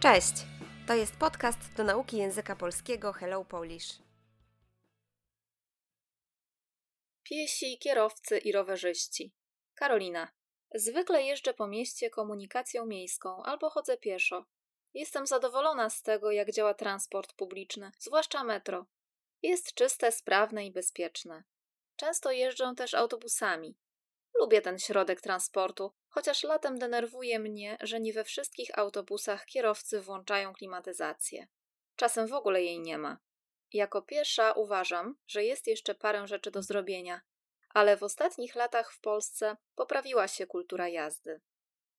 Cześć! To jest podcast do nauki języka polskiego Hello Polish. Piesi, kierowcy i rowerzyści. Karolina. Zwykle jeżdżę po mieście komunikacją miejską albo chodzę pieszo. Jestem zadowolona z tego, jak działa transport publiczny, zwłaszcza metro. Jest czyste, sprawne i bezpieczne. Często jeżdżę też autobusami. Lubię ten środek transportu, chociaż latem denerwuje mnie, że nie we wszystkich autobusach kierowcy włączają klimatyzację. Czasem w ogóle jej nie ma. Jako pierwsza uważam, że jest jeszcze parę rzeczy do zrobienia, ale w ostatnich latach w Polsce poprawiła się kultura jazdy.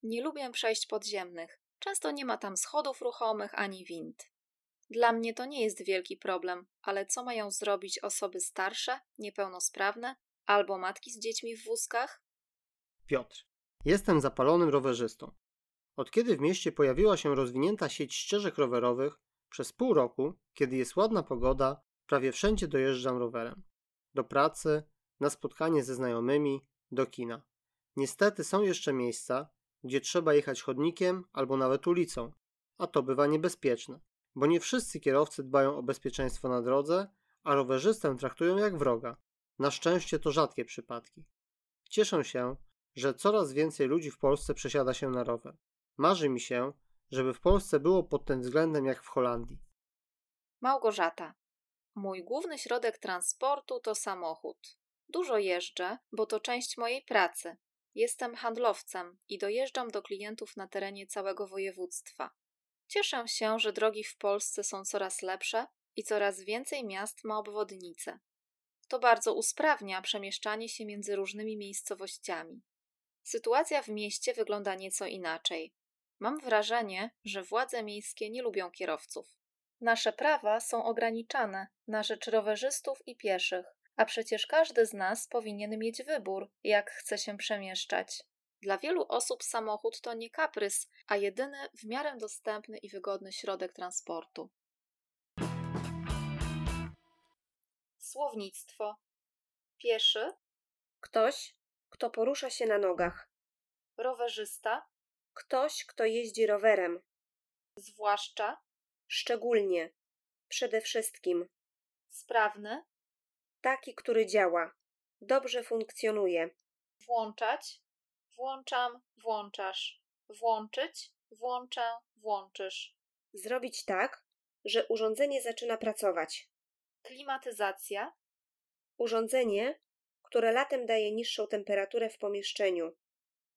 Nie lubię przejść podziemnych, często nie ma tam schodów ruchomych ani wind. Dla mnie to nie jest wielki problem, ale co mają zrobić osoby starsze, niepełnosprawne albo matki z dziećmi w wózkach? Piotr. Jestem zapalonym rowerzystą. Od kiedy w mieście pojawiła się rozwinięta sieć ścieżek rowerowych, przez pół roku, kiedy jest ładna pogoda, prawie wszędzie dojeżdżam rowerem. Do pracy, na spotkanie ze znajomymi, do kina. Niestety są jeszcze miejsca, gdzie trzeba jechać chodnikiem albo nawet ulicą, a to bywa niebezpieczne, bo nie wszyscy kierowcy dbają o bezpieczeństwo na drodze, a rowerzystę traktują jak wroga. Na szczęście to rzadkie przypadki. Cieszę się, że coraz więcej ludzi w Polsce przesiada się na rower. Marzy mi się, żeby w Polsce było pod tym względem jak w Holandii. Małgorzata. Mój główny środek transportu to samochód. Dużo jeżdżę, bo to część mojej pracy. Jestem handlowcem i dojeżdżam do klientów na terenie całego województwa. Cieszę się, że drogi w Polsce są coraz lepsze i coraz więcej miast ma obwodnice. To bardzo usprawnia przemieszczanie się między różnymi miejscowościami. Sytuacja w mieście wygląda nieco inaczej. Mam wrażenie, że władze miejskie nie lubią kierowców. Nasze prawa są ograniczane na rzecz rowerzystów i pieszych, a przecież każdy z nas powinien mieć wybór, jak chce się przemieszczać. Dla wielu osób samochód to nie kaprys, a jedyny w miarę dostępny i wygodny środek transportu. Słownictwo: pieszy, Ktoś, kto porusza się na nogach. rowerzysta, Ktoś, kto jeździ rowerem. zwłaszcza, Szczególnie. Przede wszystkim. sprawny, Taki, który działa. Dobrze funkcjonuje. włączać, włączam, włączasz, włączyć, włączę, włączysz. Zrobić tak, że urządzenie zaczyna pracować. Klimatyzacja, Urządzenie, które latem daje niższą temperaturę w pomieszczeniu.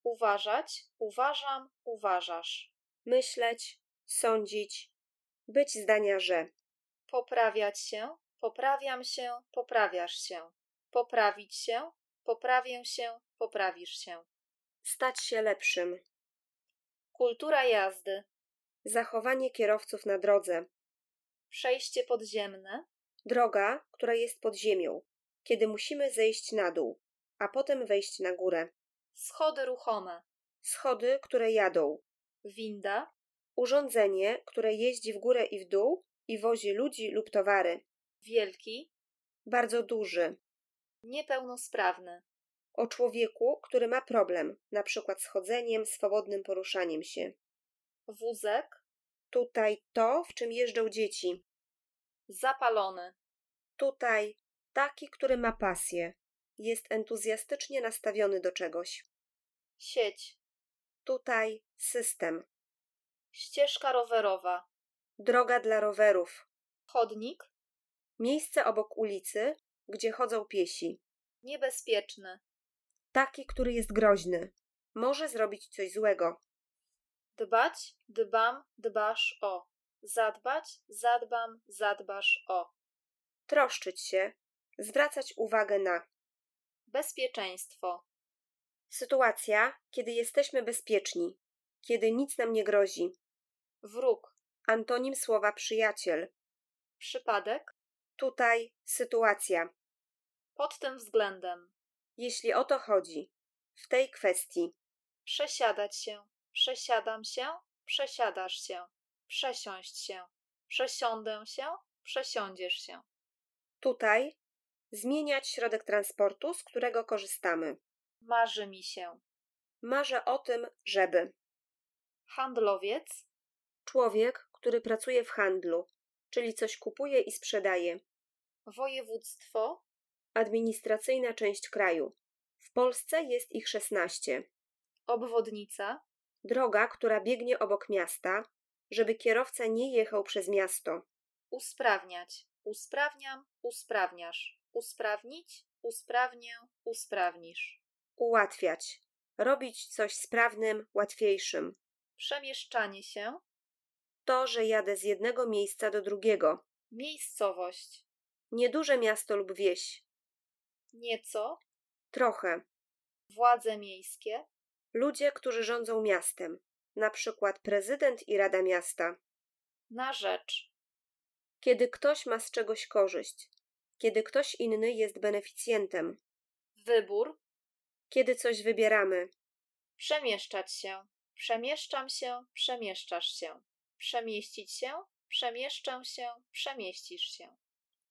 uważać, uważam, uważasz. Myśleć, sądzić, być zdania, że. Poprawiać się, poprawiam się, poprawiasz się. Poprawić się, poprawię się, poprawisz się. Stać się lepszym. Kultura jazdy, Zachowanie kierowców na drodze. przejście podziemne, Droga, która jest pod ziemią, kiedy musimy zejść na dół, a potem wejść na górę. schody ruchome, Schody, które jadą. winda, Urządzenie, które jeździ w górę i w dół i wozi ludzi lub towary. wielki, Bardzo duży. niepełnosprawny, O człowieku, który ma problem, na przykład z chodzeniem, swobodnym poruszaniem się. wózek, Tutaj to, w czym jeżdżą dzieci. zapalony, Tutaj taki, który ma pasję. Jest entuzjastycznie nastawiony do czegoś. sieć, Tutaj system. ścieżka rowerowa, Droga dla rowerów. chodnik, Miejsce obok ulicy, gdzie chodzą piesi. niebezpieczny, Taki, który jest groźny. Może zrobić coś złego. dbać, dbam, dbasz o, zadbać, zadbam, zadbasz o, Troszczyć się. Zwracać uwagę na bezpieczeństwo, sytuacja, kiedy jesteśmy bezpieczni, kiedy nic nam nie grozi. wróg, Antonim słowa przyjaciel. przypadek, Tutaj sytuacja. pod tym względem, Jeśli o to chodzi, w tej kwestii przesiadać się, przesiadam się, przesiadasz się, przesiąść się, przesiądę się, przesiądziesz się, tutaj zmieniać środek transportu, z którego korzystamy. marzy mi się, Marzę o tym, żeby handlowiec, Człowiek, który pracuje w handlu, czyli coś kupuje i sprzedaje. Województwo? Administracyjna część kraju. W Polsce jest ich 16. Obwodnica? Droga, która biegnie obok miasta, żeby kierowca nie jechał przez miasto. Usprawniać. Usprawniam, usprawniasz. Usprawnić, usprawnię, usprawnisz. Ułatwiać. Robić coś sprawnym, łatwiejszym. Przemieszczanie się. To, że jadę z jednego miejsca do drugiego. Miejscowość. Nieduże miasto lub wieś. Nieco. Trochę. Władze miejskie. Ludzie, którzy rządzą miastem. Na przykład prezydent i rada miasta. Na rzecz. Kiedy ktoś ma z czegoś korzyść. Kiedy ktoś inny jest beneficjentem. Wybór. Kiedy coś wybieramy. Przemieszczać się. Przemieszczam się, przemieszczasz się. Przemieścić się, przemieszczę się, przemieścisz się.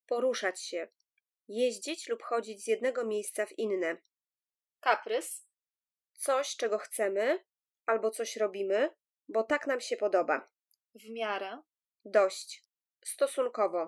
Poruszać się. Jeździć lub chodzić z jednego miejsca w inne. Kaprys. Coś, czego chcemy, albo coś robimy, bo tak nam się podoba. W miarę. Dość. Stosunkowo.